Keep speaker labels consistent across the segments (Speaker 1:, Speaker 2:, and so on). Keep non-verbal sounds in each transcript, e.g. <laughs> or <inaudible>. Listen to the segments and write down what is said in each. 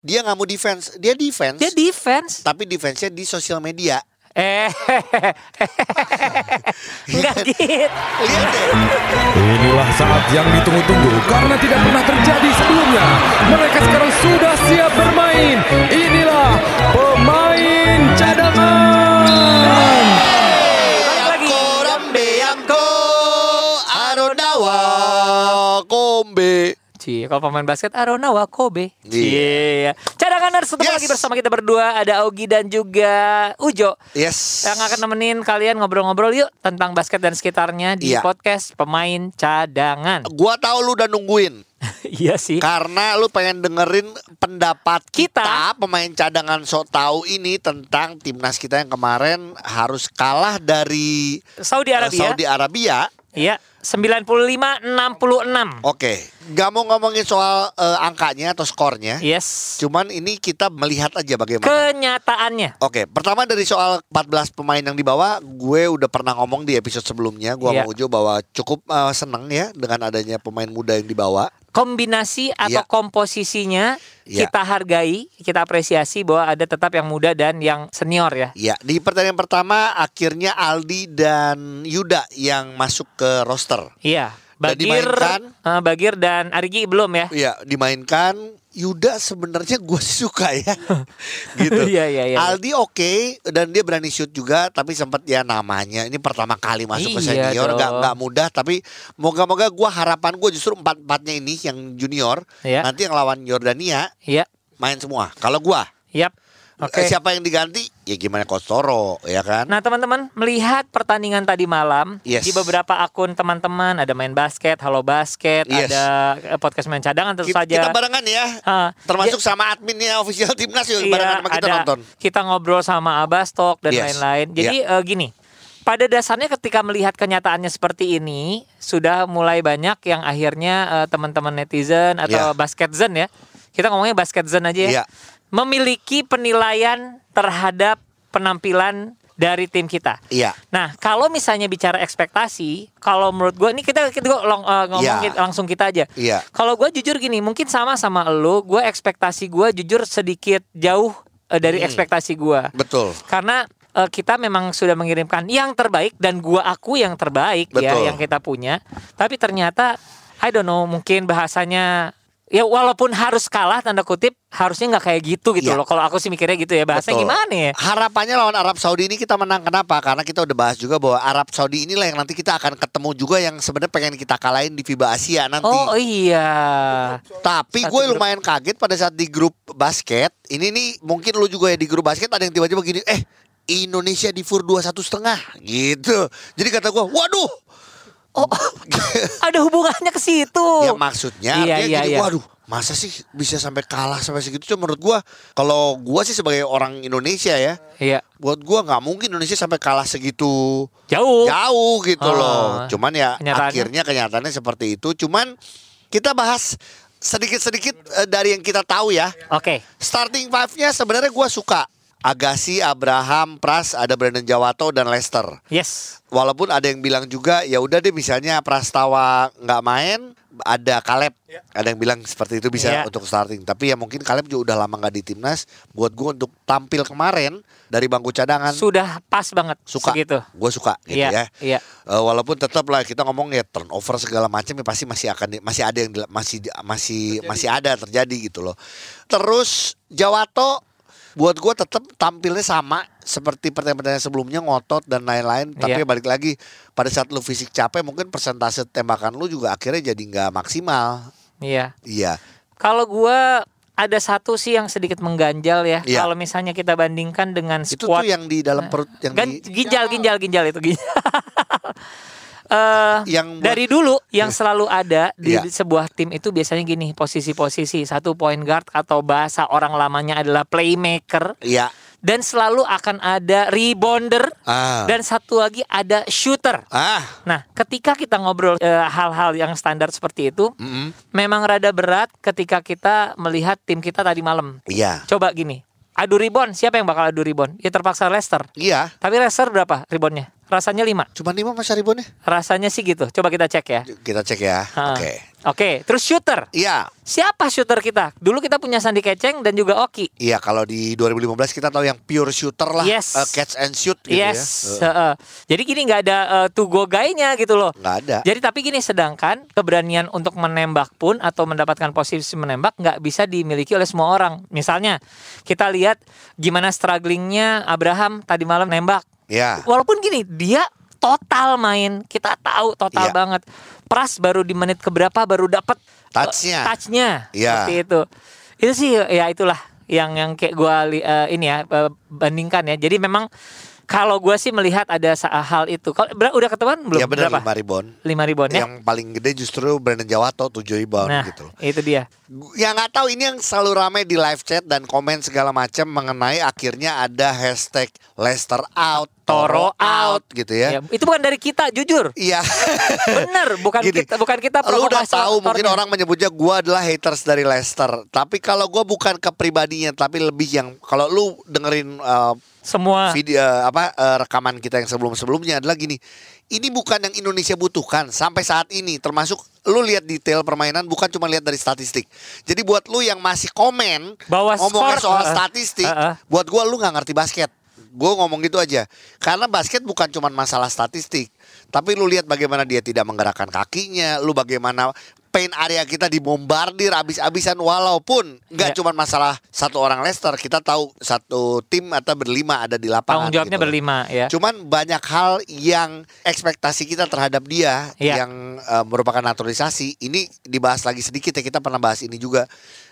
Speaker 1: Dia nggak mau defense, dia defense.
Speaker 2: Dia defense.
Speaker 1: tapi defense-nya di sosial media.
Speaker 2: Eh, enggak gitu.
Speaker 1: Lihat deh.
Speaker 3: Inilah saat yang ditunggu-tunggu karena tidak pernah terjadi sebelumnya. Mereka sekarang sudah siap bermain. Inilah pemain cadangan.
Speaker 2: Balik lagi.
Speaker 1: Beyangko Aronawa Kombe.
Speaker 2: Cie, kalau pemain basket Arona Wakobe. Cie. Cadanganers ketemu
Speaker 1: Iya. Yes.
Speaker 2: lagi bersama kita berdua ada Ogi dan juga Ujo.
Speaker 1: Yes.
Speaker 2: Yang akan nemenin kalian ngobrol-ngobrol yuk tentang basket dan sekitarnya di
Speaker 1: Iya.
Speaker 2: podcast pemain cadangan.
Speaker 1: <laughs> Gua tahu lu udah nungguin
Speaker 2: iya sih.
Speaker 1: karena lu pengen dengerin pendapat kita,
Speaker 2: Kita.
Speaker 1: pemain cadangan so tahu ini tentang timnas kita yang kemarin harus kalah dari eh,
Speaker 2: Saudi Arabia.
Speaker 1: Saudi Arabia.
Speaker 2: Iya, 95-66.
Speaker 1: Oke, nggak mau ngomongin soal eh, angkanya atau skornya.
Speaker 2: Iya. Yes.
Speaker 1: Cuman ini kita melihat aja bagaimana.
Speaker 2: Kenyataannya.
Speaker 1: Oke, pertama dari soal 14 pemain yang dibawa, gue udah pernah ngomong di episode sebelumnya, gue
Speaker 2: Iya.
Speaker 1: mau Ujo bahwa cukup eh, seneng ya dengan adanya pemain muda yang dibawa.
Speaker 2: kombinasi atau
Speaker 1: Iya.
Speaker 2: komposisinya
Speaker 1: Iya.
Speaker 2: kita hargai, kita apresiasi bahwa ada tetap yang muda dan yang senior ya.
Speaker 1: Ya, di pertandingan pertama akhirnya Aldi dan Yuda yang masuk ke roster.
Speaker 2: Iya.
Speaker 1: Dan
Speaker 2: Bagir,
Speaker 1: dimainkan.
Speaker 2: eh, Bagir dan Arigi belum ya.
Speaker 1: Ya, dimainkan Yuda sebenarnya gue sih suka ya. gitu.
Speaker 2: <laughs> Iya, iya, iya.
Speaker 1: Aldi oke dan dia berani shoot juga tapi sempat ya namanya ini pertama kali masuk ke
Speaker 2: Iya
Speaker 1: senior
Speaker 2: dong.
Speaker 1: nggak nggak mudah tapi moga-moga gua harapan gue justru empat-empatnya ini yang junior
Speaker 2: Iya.
Speaker 1: nanti yang lawan Yordania
Speaker 2: Iya.
Speaker 1: main semua. Kalau gua
Speaker 2: Yap. Oke.
Speaker 1: eh, siapa yang diganti? Ya gimana Kostoro ya kan?
Speaker 2: Nah teman-teman melihat pertandingan tadi malam
Speaker 1: Yes.
Speaker 2: di beberapa akun teman-teman ada main basket, halo basket,
Speaker 1: Yes.
Speaker 2: ada eh, podcast main cadangan
Speaker 1: Ki-
Speaker 2: tentu
Speaker 1: kita,
Speaker 2: saja.
Speaker 1: barengan ya.
Speaker 2: Ah,
Speaker 1: Termasuk sama adminnya official timnas yuk
Speaker 2: Iya,
Speaker 1: barengan sama kita
Speaker 2: ada-
Speaker 1: nonton.
Speaker 2: Kita ngobrol sama Abastok dan
Speaker 1: Yes. Iya.
Speaker 2: lain-lain. Jadi eh, gini, pada dasarnya ketika melihat kenyataannya seperti ini, sudah mulai banyak yang akhirnya eh, teman-teman netizen
Speaker 1: Iya.
Speaker 2: atau basketzen ya. Kita ngomongnya basketzen aja ya.
Speaker 1: Iya.
Speaker 2: Memiliki penilaian terhadap penampilan dari tim kita.
Speaker 1: Iya.
Speaker 2: Nah, kalau misalnya bicara ekspektasi, kalau menurut gue ini kita kita gua long- eh, ngomong
Speaker 1: Iya.
Speaker 2: kita- langsung kita aja.
Speaker 1: Iya.
Speaker 2: Kalau gue jujur gini, mungkin sama sama lo, gue ekspektasi gue jujur sedikit jauh eh,
Speaker 1: Hmm.
Speaker 2: dari ekspektasi gue.
Speaker 1: Betul.
Speaker 2: Karena eh, kita memang sudah mengirimkan yang terbaik dan gua aku yang terbaik
Speaker 1: Betul.
Speaker 2: ya yang kita punya. Tapi ternyata I don't know, mungkin bahasanya ya walaupun harus kalah tanda kutip harusnya nggak kayak gitu gitu
Speaker 1: Iya.
Speaker 2: loh. Kalau aku sih mikirnya gitu ya, bahasanya
Speaker 1: Betul.
Speaker 2: gimana ya?
Speaker 1: Harapannya lawan Arab Saudi ini kita menang kenapa? Karena kita udah bahas juga bahwa Arab Saudi inilah yang nanti kita akan ketemu juga yang sebenarnya pengen kita kalahin di FIBA Asia nanti.
Speaker 2: Oh iya.
Speaker 1: Tapi
Speaker 2: Satu
Speaker 1: gue
Speaker 2: grup.
Speaker 1: lumayan kaget pada saat di grup basket. Ini nih mungkin lu juga ya di grup basket ada yang tiba-tiba gini, eh Indonesia di FUR 21 setengah gitu. Jadi kata gue, waduh. Oh,
Speaker 2: Ada hubungannya ke situ.
Speaker 1: <laughs> ya maksudnya
Speaker 2: Iya,
Speaker 1: artinya
Speaker 2: iya,
Speaker 1: gini,
Speaker 2: iya.
Speaker 1: waduh masa sih bisa sampai kalah sampai segitu? Cuma menurut gue, kalau gue sih sebagai orang Indonesia ya,
Speaker 2: Iya.
Speaker 1: buat gue nggak mungkin Indonesia sampai kalah segitu
Speaker 2: Jauh.
Speaker 1: jauh gitu
Speaker 2: Ah.
Speaker 1: loh. Cuman ya
Speaker 2: Kenyataannya.
Speaker 1: akhirnya kenyataannya seperti itu. Cuman kita bahas sedikit-sedikit eh, dari yang kita tahu ya.
Speaker 2: Oke.
Speaker 1: Starting five-nya sebenarnya gua suka. Agassi, Abraham, Pras, ada Brandon Jawato dan Lester.
Speaker 2: Yes.
Speaker 1: Walaupun ada yang bilang juga ya udah deh misalnya Prastawa nggak main, ada Kaleb. Ada yang bilang seperti itu bisa
Speaker 2: Iya.
Speaker 1: untuk starting. Tapi ya mungkin Kaleb juga udah lama nggak di timnas. Buat gua untuk tampil kemarin dari bangku cadangan
Speaker 2: Sudah pas banget
Speaker 1: suka
Speaker 2: segitu.
Speaker 1: gue suka gitu
Speaker 2: Iya,
Speaker 1: ya
Speaker 2: iya.
Speaker 1: Eh, walaupun tetap lah kita ngomong ya turnover segala macam ya pasti masih akan di- masih ada yang dila- masih masih masih ada terjadi gitu loh terus Jawato buat gue tetap tampilnya sama seperti pertandingan-pertandingan sebelumnya ngotot dan lain-lain tapi
Speaker 2: Iya.
Speaker 1: balik lagi pada saat lu fisik capek mungkin persentase tembakan lu juga akhirnya jadi nggak maksimal
Speaker 2: Iya.
Speaker 1: iya
Speaker 2: Kalau gua ada satu sih yang sedikit mengganjal ya.
Speaker 1: Iya.
Speaker 2: Kalau misalnya kita bandingkan dengan
Speaker 1: itu
Speaker 2: squad
Speaker 1: tuh yang di dalam perut yang di
Speaker 2: Gan-
Speaker 1: Ya.
Speaker 2: ginjal ginjal ginjal itu ginjal. <laughs> Eh,
Speaker 1: Yang buat-
Speaker 2: dari dulu yang selalu ada di
Speaker 1: Iya.
Speaker 2: sebuah tim itu biasanya gini posisi-posisi satu point guard atau bahasa orang lamanya adalah playmaker
Speaker 1: iya
Speaker 2: dan selalu akan ada rebounder
Speaker 1: ah
Speaker 2: dan satu lagi ada shooter.
Speaker 1: ah
Speaker 2: Nah, ketika kita ngobrol eh, hal-hal yang standar seperti itu,
Speaker 1: Mm-mm.
Speaker 2: memang rada berat ketika kita melihat tim kita tadi malam.
Speaker 1: iya
Speaker 2: Coba gini, adu ribon, siapa yang bakal adu ribon? Ya terpaksa Leicester.
Speaker 1: iya
Speaker 2: Tapi Leicester berapa ribonnya? Rasanya 5.
Speaker 1: Cuman lima mas Aribon ya?
Speaker 2: Rasanya sih gitu. Coba kita cek ya.
Speaker 1: Kita cek ya.
Speaker 2: Ha.
Speaker 1: Oke.
Speaker 2: Oke, terus shooter.
Speaker 1: Iya,
Speaker 2: Siapa shooter kita? Dulu kita punya Sandi Keceng dan juga Oki.
Speaker 1: iya kalau di 2015 kita tahu yang pure shooter lah,
Speaker 2: Yes.
Speaker 1: eh, catch and shoot gitu
Speaker 2: yes.
Speaker 1: ya. Eh,
Speaker 2: heeh. Jadi gini nggak ada eh, to go guy-nya gitu loh.
Speaker 1: nggak ada.
Speaker 2: Jadi tapi gini sedangkan keberanian untuk menembak pun atau mendapatkan posisi menembak nggak bisa dimiliki oleh semua orang. Misalnya kita lihat gimana strugglingnya Abraham tadi malam nembak.
Speaker 1: Ya.
Speaker 2: Walaupun gini dia total main kita tahu
Speaker 1: Iya.
Speaker 2: total banget. Pras baru di menit keberapa baru dapat
Speaker 1: Touch-nya.
Speaker 2: touch-nya
Speaker 1: Iya.
Speaker 2: seperti itu. Itu sih ya itulah yang yang kayak gua li- eh, ini ya eh, bandingkan ya. Jadi memang kalau gua sih melihat ada sa- hal itu. Kalau ber- udah ketemuan belum?
Speaker 1: ya benar
Speaker 2: Berapa?
Speaker 1: lima rebound.
Speaker 2: lima ribuan ya.
Speaker 1: Yang paling gede justru Brandon Jawato 7 rebound
Speaker 2: nah,
Speaker 1: gitu loh.
Speaker 2: itu dia.
Speaker 1: Yang nggak tahu ini yang selalu ramai di live chat dan komen segala macam mengenai akhirnya ada hashtag Leicester out, Toro out gitu
Speaker 2: Ya,
Speaker 1: ya.
Speaker 2: itu bukan dari kita, jujur.
Speaker 1: Iya.
Speaker 2: Bener, bukan
Speaker 1: Gini,
Speaker 2: kita, bukan kita.
Speaker 1: Lu udah
Speaker 2: provokator-
Speaker 1: tahu mungkin
Speaker 2: tornya.
Speaker 1: orang menyebutnya gua adalah haters dari Leicester. Tapi kalau gua bukan ke pribadinya tapi lebih yang kalau lu dengerin uh,
Speaker 2: semua.
Speaker 1: video apa eh, rekaman kita yang sebelum-sebelumnya adalah gini. Ini bukan yang Indonesia butuhkan sampai saat ini termasuk lu lihat detail permainan bukan cuma lihat dari statistik. Jadi buat lu yang masih komen
Speaker 2: Bahwa
Speaker 1: ngomongnya
Speaker 2: skor,
Speaker 1: soal
Speaker 2: eh,
Speaker 1: statistik,
Speaker 2: eh, eh.
Speaker 1: buat gua lu nggak ngerti basket. Gue ngomong gitu aja. Karena basket bukan cuma masalah statistik, tapi lu lihat bagaimana dia tidak menggerakkan kakinya, lu bagaimana paint area kita dibombardir abis-abisan walaupun nggak
Speaker 2: Ya.
Speaker 1: cuma masalah satu orang Leicester, kita tahu satu tim atau berlima ada di lapangan
Speaker 2: Tanggung jawabnya
Speaker 1: gitu.
Speaker 2: berlima ya.
Speaker 1: Cuman banyak hal yang ekspektasi kita terhadap dia
Speaker 2: Iya.
Speaker 1: yang eh, merupakan naturalisasi ini dibahas lagi sedikit ya kita pernah bahas ini juga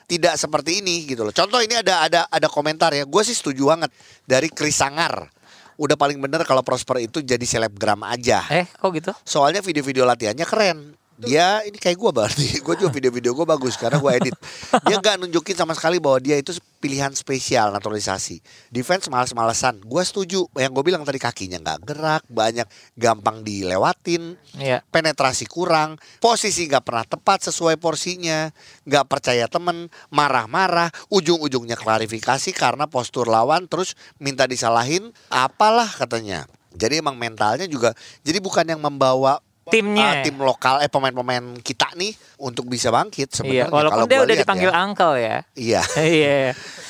Speaker 1: tidak seperti ini gitu loh. Contoh ini ada ada ada komentar ya. Gue sih setuju banget dari Kris Sangar. Udah paling bener kalau Prosper itu jadi selebgram aja.
Speaker 2: Eh, kok gitu?
Speaker 1: Soalnya video-video latihannya keren. Dia ini kayak gue <laughs> berarti. Gue juga video-video gue bagus karena gue edit. Dia nggak nunjukin sama sekali bahwa dia itu pilihan spesial naturalisasi. Defense males-malesan. Gue setuju. Yang gue bilang tadi kakinya nggak gerak, banyak gampang dilewatin
Speaker 2: Iya.
Speaker 1: penetrasi kurang, posisi nggak pernah tepat sesuai porsinya, nggak percaya temen, marah-marah, ujung-ujungnya klarifikasi karena postur lawan terus minta disalahin, apalah katanya. Jadi emang mentalnya juga, jadi bukan yang membawa
Speaker 2: Timnya.
Speaker 1: eh, tim lokal, eh pemain-pemain kita nih untuk bisa bangkit sebenarnya.
Speaker 2: Iya, walaupun
Speaker 1: ya, kalau
Speaker 2: dia
Speaker 1: gua
Speaker 2: udah
Speaker 1: lihat
Speaker 2: dipanggil
Speaker 1: ya.
Speaker 2: uncle ya. <laughs>
Speaker 1: Iya,
Speaker 2: Iya.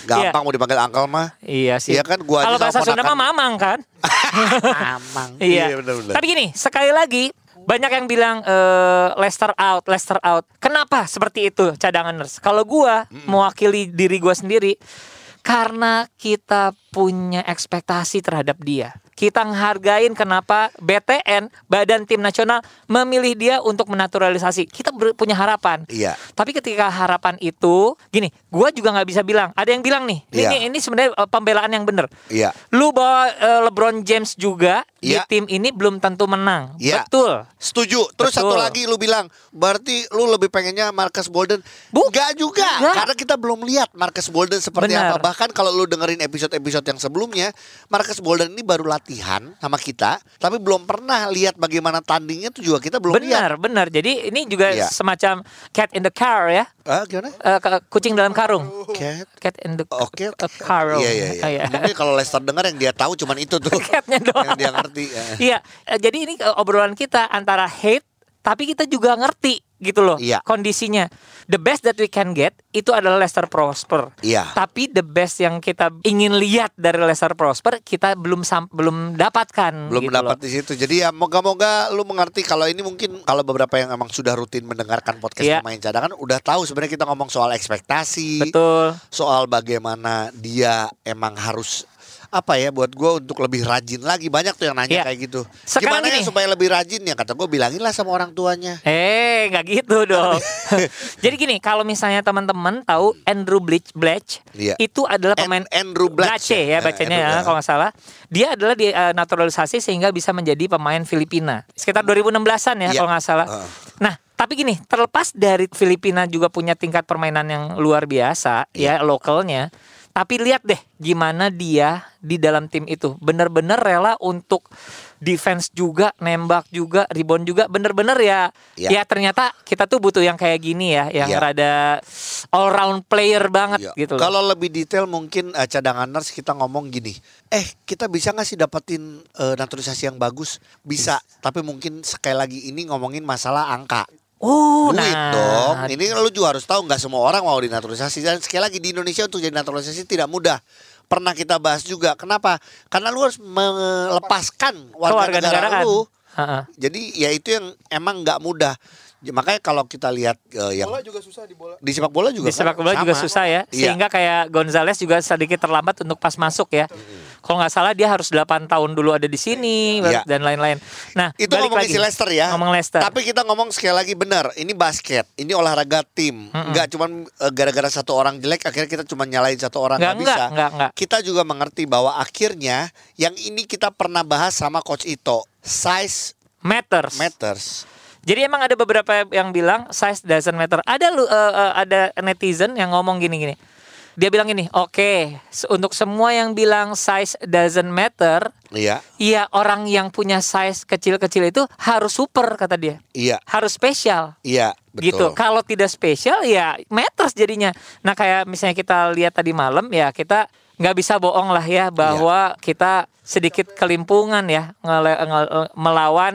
Speaker 1: gampang mau dipanggil angkel mah.
Speaker 2: Iya, iya sih.
Speaker 1: Iya kan, gua aja
Speaker 2: Kalau
Speaker 1: sama
Speaker 2: bahasa Sunda mah
Speaker 1: ponakan.
Speaker 2: mamang kan?
Speaker 1: Amang.
Speaker 2: Iya.
Speaker 1: benar-benar.
Speaker 2: Tapi gini, sekali lagi banyak yang bilang eh, Leicester out, Leicester out. Kenapa seperti itu cadanganers? Kalau gua mewakili diri gua sendiri karena kita punya ekspektasi terhadap dia. Kita ngehargain kenapa BTN Badan Tim Nasional memilih dia untuk menaturalisasi. Kita ber- punya harapan.
Speaker 1: Iya.
Speaker 2: Tapi ketika harapan itu, gini, gua juga nggak bisa bilang. Ada yang bilang nih, ini
Speaker 1: Iya.
Speaker 2: ini, ini sebenarnya eh, pembelaan yang benar.
Speaker 1: Iya.
Speaker 2: Lu bawa eh, LeBron James juga
Speaker 1: Iya.
Speaker 2: di tim ini belum tentu menang.
Speaker 1: Iya.
Speaker 2: Betul.
Speaker 1: Setuju. Terus satu
Speaker 2: Betul.
Speaker 1: lagi lu bilang, berarti lu lebih pengennya Marcus Bolden.
Speaker 2: Bu-
Speaker 1: Enggak juga,
Speaker 2: Enggak.
Speaker 1: karena kita belum lihat Marcus Bolden seperti
Speaker 2: Benar.
Speaker 1: apa. Bahkan kalau lu dengerin episode-episode yang sebelumnya, Marcus Bolden ini baru latihan sama kita, tapi belum pernah lihat bagaimana tandingnya itu juga kita belum lihat.
Speaker 2: benar, benar. Jadi ini juga
Speaker 1: Iya.
Speaker 2: semacam cat in the car ya.
Speaker 1: Ah, gimana?
Speaker 2: Eh, ke- kucing dalam karung.
Speaker 1: Cat.
Speaker 2: Cat in the
Speaker 1: Oke.
Speaker 2: a car.
Speaker 1: Iya, iya,
Speaker 2: Ah,
Speaker 1: iya.
Speaker 2: <laughs>
Speaker 1: Mungkin kalau Lester denger yang dia tahu cuman itu tuh.
Speaker 2: Catnya doang.
Speaker 1: Yang dia ngerti. eh.
Speaker 2: Iya, eh, jadi ini eh, obrolan kita antara hate tapi kita juga ngerti gitu loh
Speaker 1: Iya.
Speaker 2: kondisinya. The best that we can get itu adalah Lester Prosper.
Speaker 1: Iya.
Speaker 2: Tapi the best yang kita ingin lihat dari Lester Prosper kita belum sam- belum dapatkan
Speaker 1: belum
Speaker 2: gitu
Speaker 1: dapat
Speaker 2: loh.
Speaker 1: di situ. Jadi ya moga-moga lu mengerti kalau ini mungkin kalau beberapa yang emang sudah rutin mendengarkan podcast
Speaker 2: Iya.
Speaker 1: pemain cadangan udah tahu sebenarnya kita ngomong soal ekspektasi,
Speaker 2: Betul.
Speaker 1: soal bagaimana dia emang harus apa ya buat gue untuk lebih rajin lagi banyak tuh yang nanya
Speaker 2: Iya.
Speaker 1: kayak gitu.
Speaker 2: Sekarang
Speaker 1: Gimana ya
Speaker 2: ini-
Speaker 1: supaya lebih rajin ya kata gue bilangin lah sama orang tuanya.
Speaker 2: Eh, nggak
Speaker 1: <laughs>
Speaker 2: gitu dong. <laughs> Jadi gini, kalau misalnya teman-teman tahu Andrew Bleach Blatch
Speaker 1: Iya.
Speaker 2: itu adalah
Speaker 1: An-
Speaker 2: pemain
Speaker 1: Andrew Blatch,
Speaker 2: Blache ya
Speaker 1: ya. Eh,
Speaker 2: bacanya
Speaker 1: Andrew,
Speaker 2: ya,
Speaker 1: ya.
Speaker 2: kalau nggak salah. Dia adalah di eh, naturalisasi sehingga bisa menjadi pemain Filipina. Sekitar 2016-an ya
Speaker 1: Iya.
Speaker 2: kalau nggak salah.
Speaker 1: Heeh.
Speaker 2: Nah, tapi gini, terlepas dari Filipina juga punya tingkat permainan yang luar biasa
Speaker 1: Iya.
Speaker 2: ya lokalnya. Tapi lihat deh gimana dia di dalam tim itu. Bener-bener rela untuk defense juga, nembak juga, rebound juga. Bener-bener ya,
Speaker 1: Iya.
Speaker 2: ya ternyata kita tuh butuh yang kayak gini ya. Yang
Speaker 1: Iya.
Speaker 2: rada all round player banget
Speaker 1: Iya.
Speaker 2: gitu loh.
Speaker 1: Kalau lebih detail mungkin eh, cadanganers kita ngomong gini, eh kita bisa nggak sih dapetin eh, naturalisasi yang bagus? Bisa, tapi mungkin sekali lagi ini ngomongin masalah angka.
Speaker 2: Oh,
Speaker 1: duit
Speaker 2: nah.
Speaker 1: dong. Ini kan lu juga harus tahu nggak semua orang mau dinaturalisasi. Dan sekali lagi di Indonesia untuk jadi naturalisasi tidak mudah. Pernah kita bahas juga. Kenapa? Karena lu harus melepaskan warga negara
Speaker 2: Kewarganegaraan.
Speaker 1: lu.
Speaker 2: Ha-ha.
Speaker 1: Jadi ya itu yang emang nggak mudah. Ya, Makanya kalau kita lihat eh, yang
Speaker 4: Bola juga susah di bola.
Speaker 1: di sepak bola juga
Speaker 2: Di sepak
Speaker 1: kan
Speaker 2: bola juga
Speaker 1: sama.
Speaker 2: susah ya.
Speaker 1: Iya.
Speaker 2: Sehingga kayak Gonzales juga sedikit terlambat untuk pas masuk ya. Kalau nggak salah dia harus 8 tahun dulu ada di sini
Speaker 1: Iya.
Speaker 2: dan lain-lain. Nah,
Speaker 1: Itu
Speaker 2: balik
Speaker 1: ngomongin
Speaker 2: lagi.
Speaker 1: si Leicester ya.
Speaker 2: Ngomong Leicester.
Speaker 1: Tapi kita ngomong sekali lagi benar, ini basket, ini olahraga tim. Enggak cuman eh, gara-gara satu orang jelek akhirnya kita cuma nyalain satu orang
Speaker 2: Nggak,
Speaker 1: nggak bisa.
Speaker 2: nggak, nggak, nggak.
Speaker 1: Kita juga mengerti bahwa akhirnya yang ini kita pernah bahas sama coach Ito, size
Speaker 2: matters.
Speaker 1: matters.
Speaker 2: Jadi emang ada beberapa yang bilang size doesn't matter. Ada lu eh, eh, ada netizen yang ngomong gini-gini. Dia bilang gini, "Oke, se- untuk semua yang bilang size doesn't matter,
Speaker 1: Iya.
Speaker 2: Iya orang yang punya size kecil-kecil itu harus super kata dia.
Speaker 1: Iya.
Speaker 2: Harus spesial.
Speaker 1: Iya, betul.
Speaker 2: Gitu. Kalau tidak spesial ya matters jadinya. Nah kayak misalnya kita lihat tadi malam ya kita nggak bisa bohong lah ya bahwa
Speaker 1: Iya.
Speaker 2: kita sedikit kelimpungan ya ngele- ngel- melawan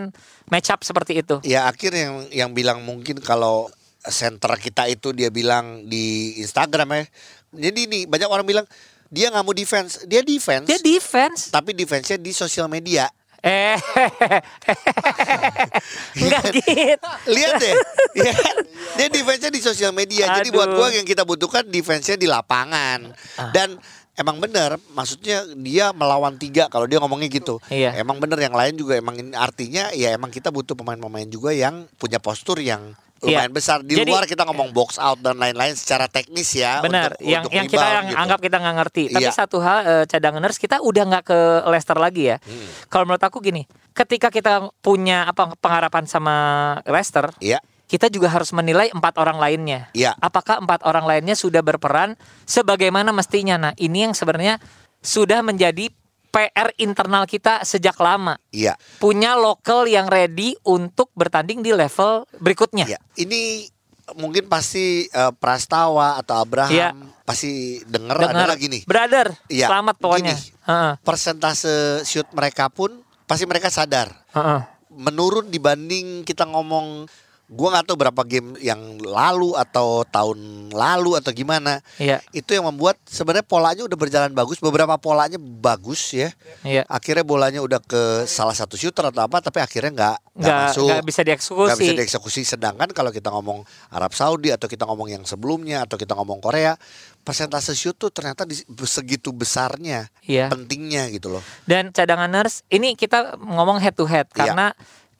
Speaker 2: match up seperti itu.
Speaker 1: Ya akhirnya yang yang bilang mungkin kalau center kita itu dia bilang di Instagram ya. Jadi ini banyak orang bilang dia nggak mau defense, dia defense.
Speaker 2: Dia defense.
Speaker 1: tapi defense-nya di sosial media.
Speaker 2: <laughs>
Speaker 1: <laughs>
Speaker 2: Eh, nggak gitu.
Speaker 1: Lihat
Speaker 2: <laughs>
Speaker 1: deh, ya kan? Dia defense-nya di sosial media. Jadi buat
Speaker 2: Aduh. Ah.
Speaker 1: gua yang kita butuhkan defense-nya di lapangan. Dan emang bener, maksudnya dia melawan tiga kalau dia ngomongnya gitu.
Speaker 2: Iya.
Speaker 1: Emang bener yang lain juga emang ini artinya ya emang kita butuh pemain-pemain juga yang punya postur yang
Speaker 2: Iya.
Speaker 1: lumayan besar di
Speaker 2: Jadi-
Speaker 1: luar kita ngomong box out dan lain-lain secara teknis ya
Speaker 2: Benar,
Speaker 1: untuk-
Speaker 2: yang
Speaker 1: untuk
Speaker 2: yang kita
Speaker 1: rebound
Speaker 2: yang
Speaker 1: gitu.
Speaker 2: anggap kita nggak ngerti. Tapi
Speaker 1: Iya.
Speaker 2: satu hal eh, cadanganers kita udah nggak ke Leicester lagi ya.
Speaker 1: Hmm.
Speaker 2: Kalau menurut aku gini, ketika kita punya apa pengharapan sama Leicester,
Speaker 1: Iya.
Speaker 2: kita juga harus menilai empat orang lainnya.
Speaker 1: Iya.
Speaker 2: Apakah empat orang lainnya sudah berperan sebagaimana mestinya? Nah, ini yang sebenarnya sudah menjadi PR internal kita sejak lama.
Speaker 1: Iya.
Speaker 2: Punya lokal yang ready untuk bertanding di level berikutnya.
Speaker 1: Ya, ini mungkin pasti eh, Prastawa atau Abraham
Speaker 2: Iya.
Speaker 1: pasti denger,
Speaker 2: Dengar,
Speaker 1: adalah gini.
Speaker 2: brother,
Speaker 1: Iya,
Speaker 2: selamat pokoknya.
Speaker 1: gini.
Speaker 2: Heeh,
Speaker 1: Persentase shoot mereka pun pasti mereka sadar
Speaker 2: heeh.
Speaker 1: menurun dibanding kita ngomong gua nggak tahu berapa game yang lalu atau tahun lalu atau gimana.
Speaker 2: Iya.
Speaker 1: Itu yang membuat sebenarnya polanya udah berjalan bagus, beberapa polanya bagus ya.
Speaker 2: Iya.
Speaker 1: Akhirnya bolanya udah ke salah satu shooter atau apa tapi akhirnya nggak nggak
Speaker 2: nggak
Speaker 1: masuk.
Speaker 2: nggak bisa dieksekusi.
Speaker 1: nggak bisa dieksekusi. Sedangkan kalau kita ngomong Arab Saudi atau kita ngomong yang sebelumnya atau kita ngomong Korea, persentase shoot tuh ternyata di, segitu besarnya,
Speaker 2: Iya.
Speaker 1: pentingnya gitu loh.
Speaker 2: Dan cadangan nurse ini kita ngomong head to head
Speaker 1: Iya.
Speaker 2: karena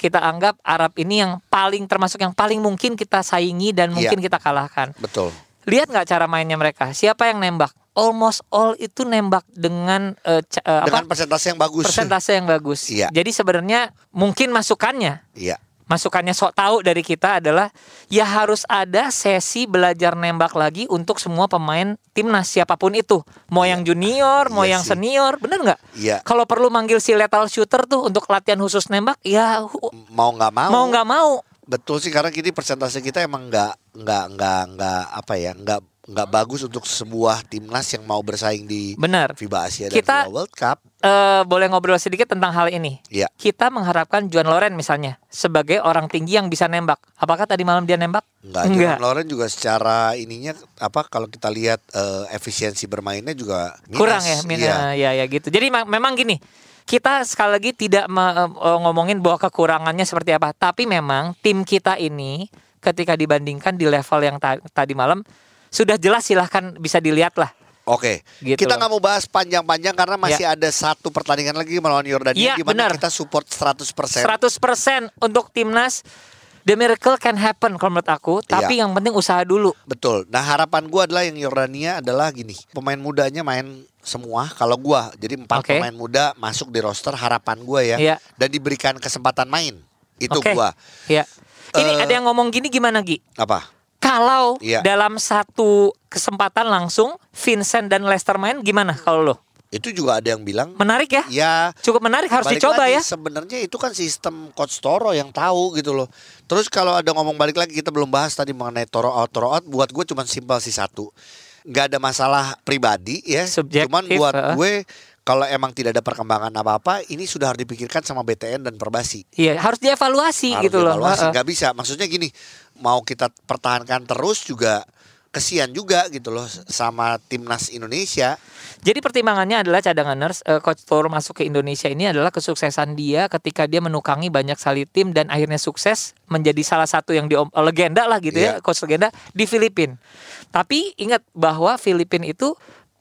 Speaker 2: kita anggap Arab ini yang paling termasuk yang paling mungkin kita saingi
Speaker 1: Iya.
Speaker 2: dan mungkin kita kalahkan.
Speaker 1: Betul.
Speaker 2: Lihat nggak cara mainnya mereka? Siapa yang nembak? Almost all itu nembak dengan eh, ca- eh,
Speaker 1: Dengan
Speaker 2: apa?
Speaker 1: persentase yang bagus.
Speaker 2: persentase yang bagus.
Speaker 1: Iya.
Speaker 2: Jadi sebenarnya mungkin masukannya
Speaker 1: Iya.
Speaker 2: masukannya sok tahu dari kita adalah ya harus ada sesi belajar nembak lagi untuk semua pemain timnas siapapun itu mau yang junior mau
Speaker 1: Iya
Speaker 2: yang
Speaker 1: sih.
Speaker 2: senior bener nggak
Speaker 1: Iya.
Speaker 2: kalau perlu manggil si lethal shooter tuh untuk latihan khusus nembak ya hu-
Speaker 1: Mau nggak mau.
Speaker 2: mau nggak mau
Speaker 1: Betul sih karena gini persentase kita emang nggak nggak nggak nggak apa ya nggak nggak bagus untuk sebuah timnas yang mau bersaing di
Speaker 2: Benar.
Speaker 1: FIBA Asia dan
Speaker 2: Kita-
Speaker 1: FIBA World Cup.
Speaker 2: Eh, boleh ngobrol sedikit tentang hal ini
Speaker 1: Iya.
Speaker 2: kita mengharapkan Juan Loren misalnya sebagai orang tinggi yang bisa nembak apakah tadi malam dia nembak
Speaker 1: Enggak, Jordan Lawrence juga secara ininya apa kalau kita lihat eh, efisiensi bermainnya juga minus.
Speaker 2: kurang ya min-
Speaker 1: Iya.
Speaker 2: ya ya gitu jadi ma- memang gini kita sekali lagi tidak me- eh, ngomongin bahwa kekurangannya seperti apa tapi memang tim kita ini ketika dibandingkan di level yang ta- tadi malam sudah jelas silahkan bisa dilihat lah
Speaker 1: Oke,
Speaker 2: Gitu
Speaker 1: kita
Speaker 2: loh.
Speaker 1: nggak mau bahas panjang-panjang karena masih ada satu pertandingan lagi melawan Yordania
Speaker 2: Iya,
Speaker 1: di mana
Speaker 2: benar.
Speaker 1: kita support 100%.
Speaker 2: 100% untuk timnas the miracle can happen kalau menurut aku
Speaker 1: Iya.
Speaker 2: tapi yang penting usaha dulu
Speaker 1: Betul. Nah, harapan gua adalah yang Yordania adalah gini, pemain mudanya main semua kalau gua. Jadi empat
Speaker 2: Oke.
Speaker 1: pemain muda masuk di roster harapan gua ya
Speaker 2: Iya.
Speaker 1: dan diberikan kesempatan main. Itu
Speaker 2: Oke.
Speaker 1: gua.
Speaker 2: ya ini
Speaker 1: Eh,
Speaker 2: ada yang ngomong gini gimana Gi
Speaker 1: Apa?
Speaker 2: kalau
Speaker 1: Iya.
Speaker 2: dalam satu kesempatan langsung Vincent dan Lester main gimana kalau lo
Speaker 1: Itu juga ada yang bilang
Speaker 2: menarik ya
Speaker 1: ya
Speaker 2: Cukup menarik harus
Speaker 1: balik
Speaker 2: dicoba
Speaker 1: lagi,
Speaker 2: ya.
Speaker 1: Sebenarnya itu kan sistem coach Toro yang tahu gitu loh. Terus kalau ada ngomong balik lagi kita belum bahas tadi mengenai Toro out Toro out. Buat gue cuman simpel sih satu, nggak ada masalah pribadi ya.
Speaker 2: Subjektif,
Speaker 1: cuman buat
Speaker 2: heeh.
Speaker 1: gue kalau emang tidak ada perkembangan apa-apa, ini sudah harus dipikirkan sama BTN dan Perbasi.
Speaker 2: Iya, harus dievaluasi
Speaker 1: Harus
Speaker 2: gitu loh.
Speaker 1: dievaluasi.
Speaker 2: Heeh.
Speaker 1: Nggak bisa. Maksudnya gini, mau kita pertahankan terus juga kesian juga gitu loh sama timnas Indonesia.
Speaker 2: Jadi pertimbangannya adalah cadanganers eh, coach Toro masuk ke Indonesia ini adalah kesuksesan dia ketika dia menukangi banyak sali tim dan akhirnya sukses menjadi salah satu yang di legenda lah gitu
Speaker 1: Iya.
Speaker 2: ya coach legenda di Filipina. Tapi ingat bahwa Filipina itu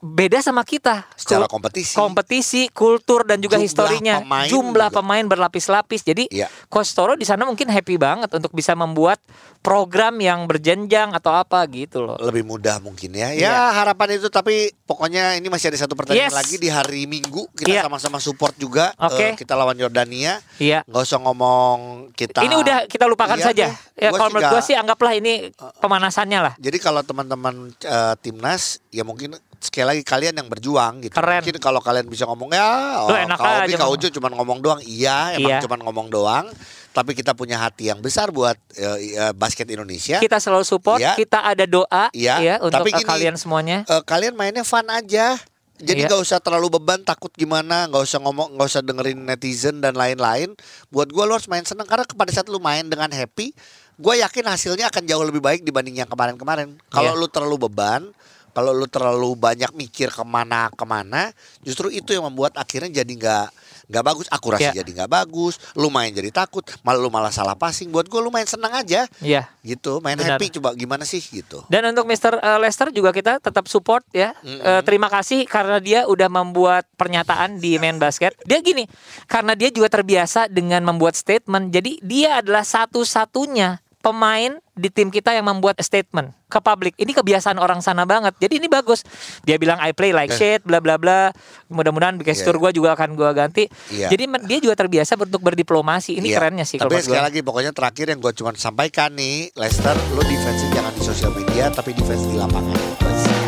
Speaker 2: beda sama kita
Speaker 1: Secara
Speaker 2: Kul-
Speaker 1: kompetisi.
Speaker 2: kompetisi, kultur dan juga
Speaker 1: Jumlah
Speaker 2: historinya,
Speaker 1: pemain
Speaker 2: jumlah
Speaker 1: juga.
Speaker 2: pemain berlapis-lapis. Jadi
Speaker 1: Iya.
Speaker 2: coach Toro di sana mungkin happy banget untuk bisa membuat program yang berjenjang atau apa gitu loh.
Speaker 1: Lebih mudah mungkin ya.
Speaker 2: Iya.
Speaker 1: Ya harapan itu tapi pokoknya ini masih ada satu pertandingan
Speaker 2: Yes.
Speaker 1: lagi di hari Minggu kita
Speaker 2: Iya.
Speaker 1: sama-sama support juga. Eh,
Speaker 2: Oke.
Speaker 1: kita lawan Yordania.
Speaker 2: Iya.
Speaker 1: Nggak usah ngomong kita.
Speaker 2: Ini udah kita lupakan
Speaker 1: Iya
Speaker 2: saja.
Speaker 1: deh.
Speaker 2: Ya,
Speaker 1: Gua
Speaker 2: kalau
Speaker 1: sih
Speaker 2: menurut gue
Speaker 1: nggak-
Speaker 2: sih anggaplah ini pemanasannya lah.
Speaker 1: Jadi kalau teman-teman eh, timnas ya mungkin sekali lagi kalian yang berjuang gitu.
Speaker 2: Keren.
Speaker 1: Mungkin kalau kalian bisa ngomong ya,
Speaker 2: Lu enak
Speaker 1: kau
Speaker 2: aja
Speaker 1: kau
Speaker 2: ngomong."
Speaker 1: cuma ngomong doang. Iya, emang
Speaker 2: Iya.
Speaker 1: cuma ngomong doang. Tapi kita punya hati yang besar buat eh, eh, basket Indonesia.
Speaker 2: Kita selalu support,
Speaker 1: Iya.
Speaker 2: kita ada doa
Speaker 1: Iya,
Speaker 2: ya untuk
Speaker 1: tapi
Speaker 2: eh,
Speaker 1: gini,
Speaker 2: kalian semuanya.
Speaker 1: Eh, kalian mainnya fun aja. Jadi
Speaker 2: Iya.
Speaker 1: nggak usah terlalu beban, takut gimana, nggak usah ngomong, nggak usah dengerin netizen dan lain-lain. Buat gua lu harus main seneng karena pada saat lu main dengan happy, gua yakin hasilnya akan jauh lebih baik dibanding yang kemarin-kemarin. Kalau
Speaker 2: Iya.
Speaker 1: lu terlalu beban, kalau lu terlalu banyak mikir kemana kemana, justru itu yang membuat akhirnya jadi nggak nggak bagus, akurasi
Speaker 2: Iya.
Speaker 1: jadi nggak bagus, lu main jadi takut, malah lu malah salah passing. Buat gua lu main seneng aja,
Speaker 2: Iya.
Speaker 1: gitu, main
Speaker 2: Benar.
Speaker 1: happy coba gimana sih gitu.
Speaker 2: Dan untuk Mr. eh, Lester juga kita tetap support ya. Eh, terima kasih karena dia udah membuat pernyataan di main basket. Dia gini, karena dia juga terbiasa dengan membuat statement. Jadi dia adalah satu-satunya pemain di tim kita yang membuat statement ke publik. Ini kebiasaan orang sana banget. Jadi ini bagus. Dia bilang I play like shit, bla bla bla. Mudah-mudahan
Speaker 1: Eh.
Speaker 2: gestur
Speaker 1: Iya.
Speaker 2: gue juga akan gua ganti.
Speaker 1: Iya.
Speaker 2: Jadi men- dia juga terbiasa untuk berdiplomasi. Ini
Speaker 1: Iya.
Speaker 2: kerennya sih kalau
Speaker 1: Tapi
Speaker 2: menurut
Speaker 1: sekali
Speaker 2: gua.
Speaker 1: lagi pokoknya terakhir yang gue cuma sampaikan nih, Lester, lo defensif jangan di sosial media, tapi defense di lapangan. Itu aja sih.